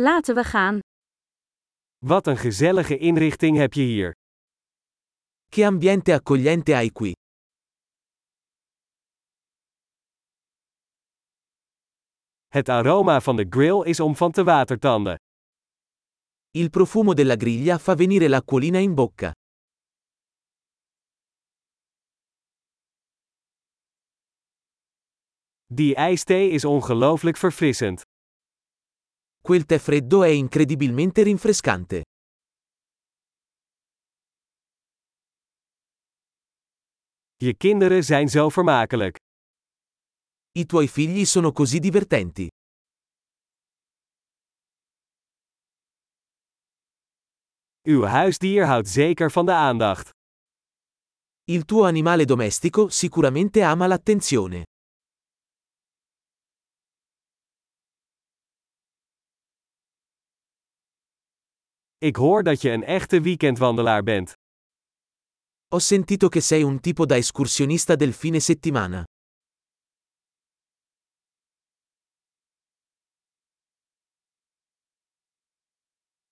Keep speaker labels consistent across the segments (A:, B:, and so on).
A: Laten we gaan.
B: Wat een gezellige inrichting heb je hier.
C: Che ambiente accogliente hai qui.
B: Het aroma van de grill is om van te watertanden.
C: Il profumo della griglia fa venire l'acquolina in bocca.
B: Die ijsthee is ongelooflijk verfrissend.
C: Quel tè freddo è incredibilmente rinfrescante.
B: Je kinderen zijn zo vermakelijk.
C: I tuoi figli sono così divertenti.
B: Uw huisdier houdt zeker van de aandacht.
C: Il tuo animale domestico sicuramente ama l'attenzione.
B: Ik hoor dat je een echte weekendwandelaar bent.
C: Ho sentito che sei un tipo da escursionista del fine settimana.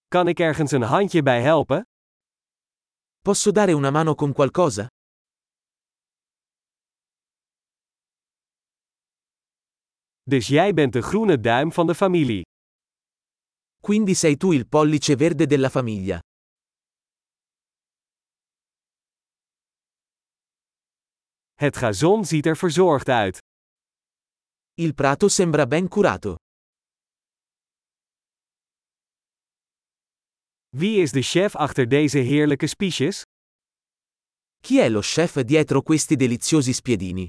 B: Kan ik ergens een handje bij helpen?
C: Posso dare una mano con qualcosa?
B: Dus jij bent de groene duim van de familie.
C: Quindi sei tu il pollice verde della famiglia.
B: Het gazon ziet er verzorgd uit.
C: Il prato sembra ben curato.
B: Wie is de chef achter deze heerlijke spiesjes?
C: Chi è lo chef dietro questi deliziosi spiedini?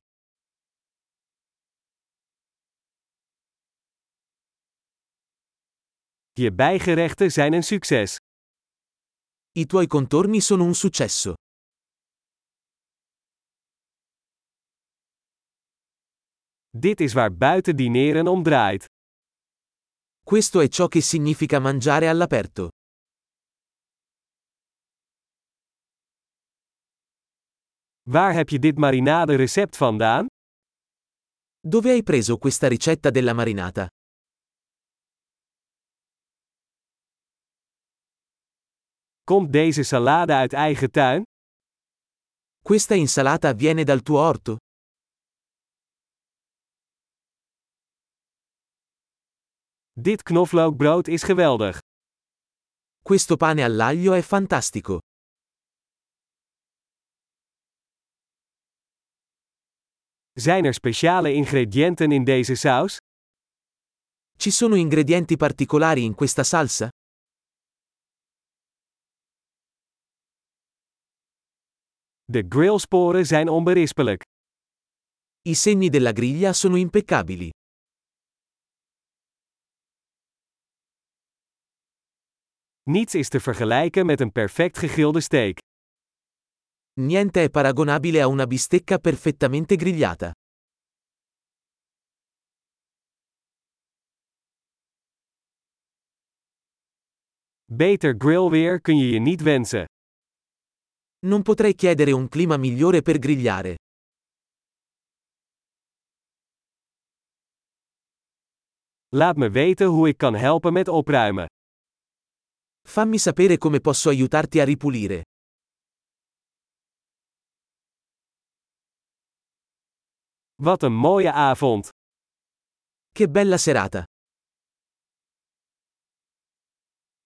B: Je bijgerechten zijn een succes.
C: I tuoi contorni sono un successo.
B: Dit is waar buiten dineren om draait.
C: Questo è ciò che significa mangiare all'aperto.
B: Waar heb je dit marinade recept vandaan?
C: Dove hai preso questa ricetta della marinata?
B: Komt deze salade uit eigen tuin?
C: Questa insalata viene dal tuo orto?
B: Dit knoflookbrood is geweldig.
C: Questo pane all'aglio è fantastico.
B: Zijn er speciale ingrediënten in deze saus?
C: Ci sono ingredienti particolari in questa salsa?
B: De grillsporen zijn onberispelijk.
C: I segni della griglia sono impeccabili.
B: Niets is te vergelijken met een perfect gegrilde steak.
C: Niente è paragonabile a una bistecca perfettamente grigliata.
B: Beter grillweer kun je je niet wensen.
C: Non potrei chiedere un clima migliore per grigliare.
B: Laat me weten hoe ik kan helpen met opruimen.
C: Fammi sapere come posso aiutarti a ripulire.
B: Wat een mooie avond!
C: Che bella serata!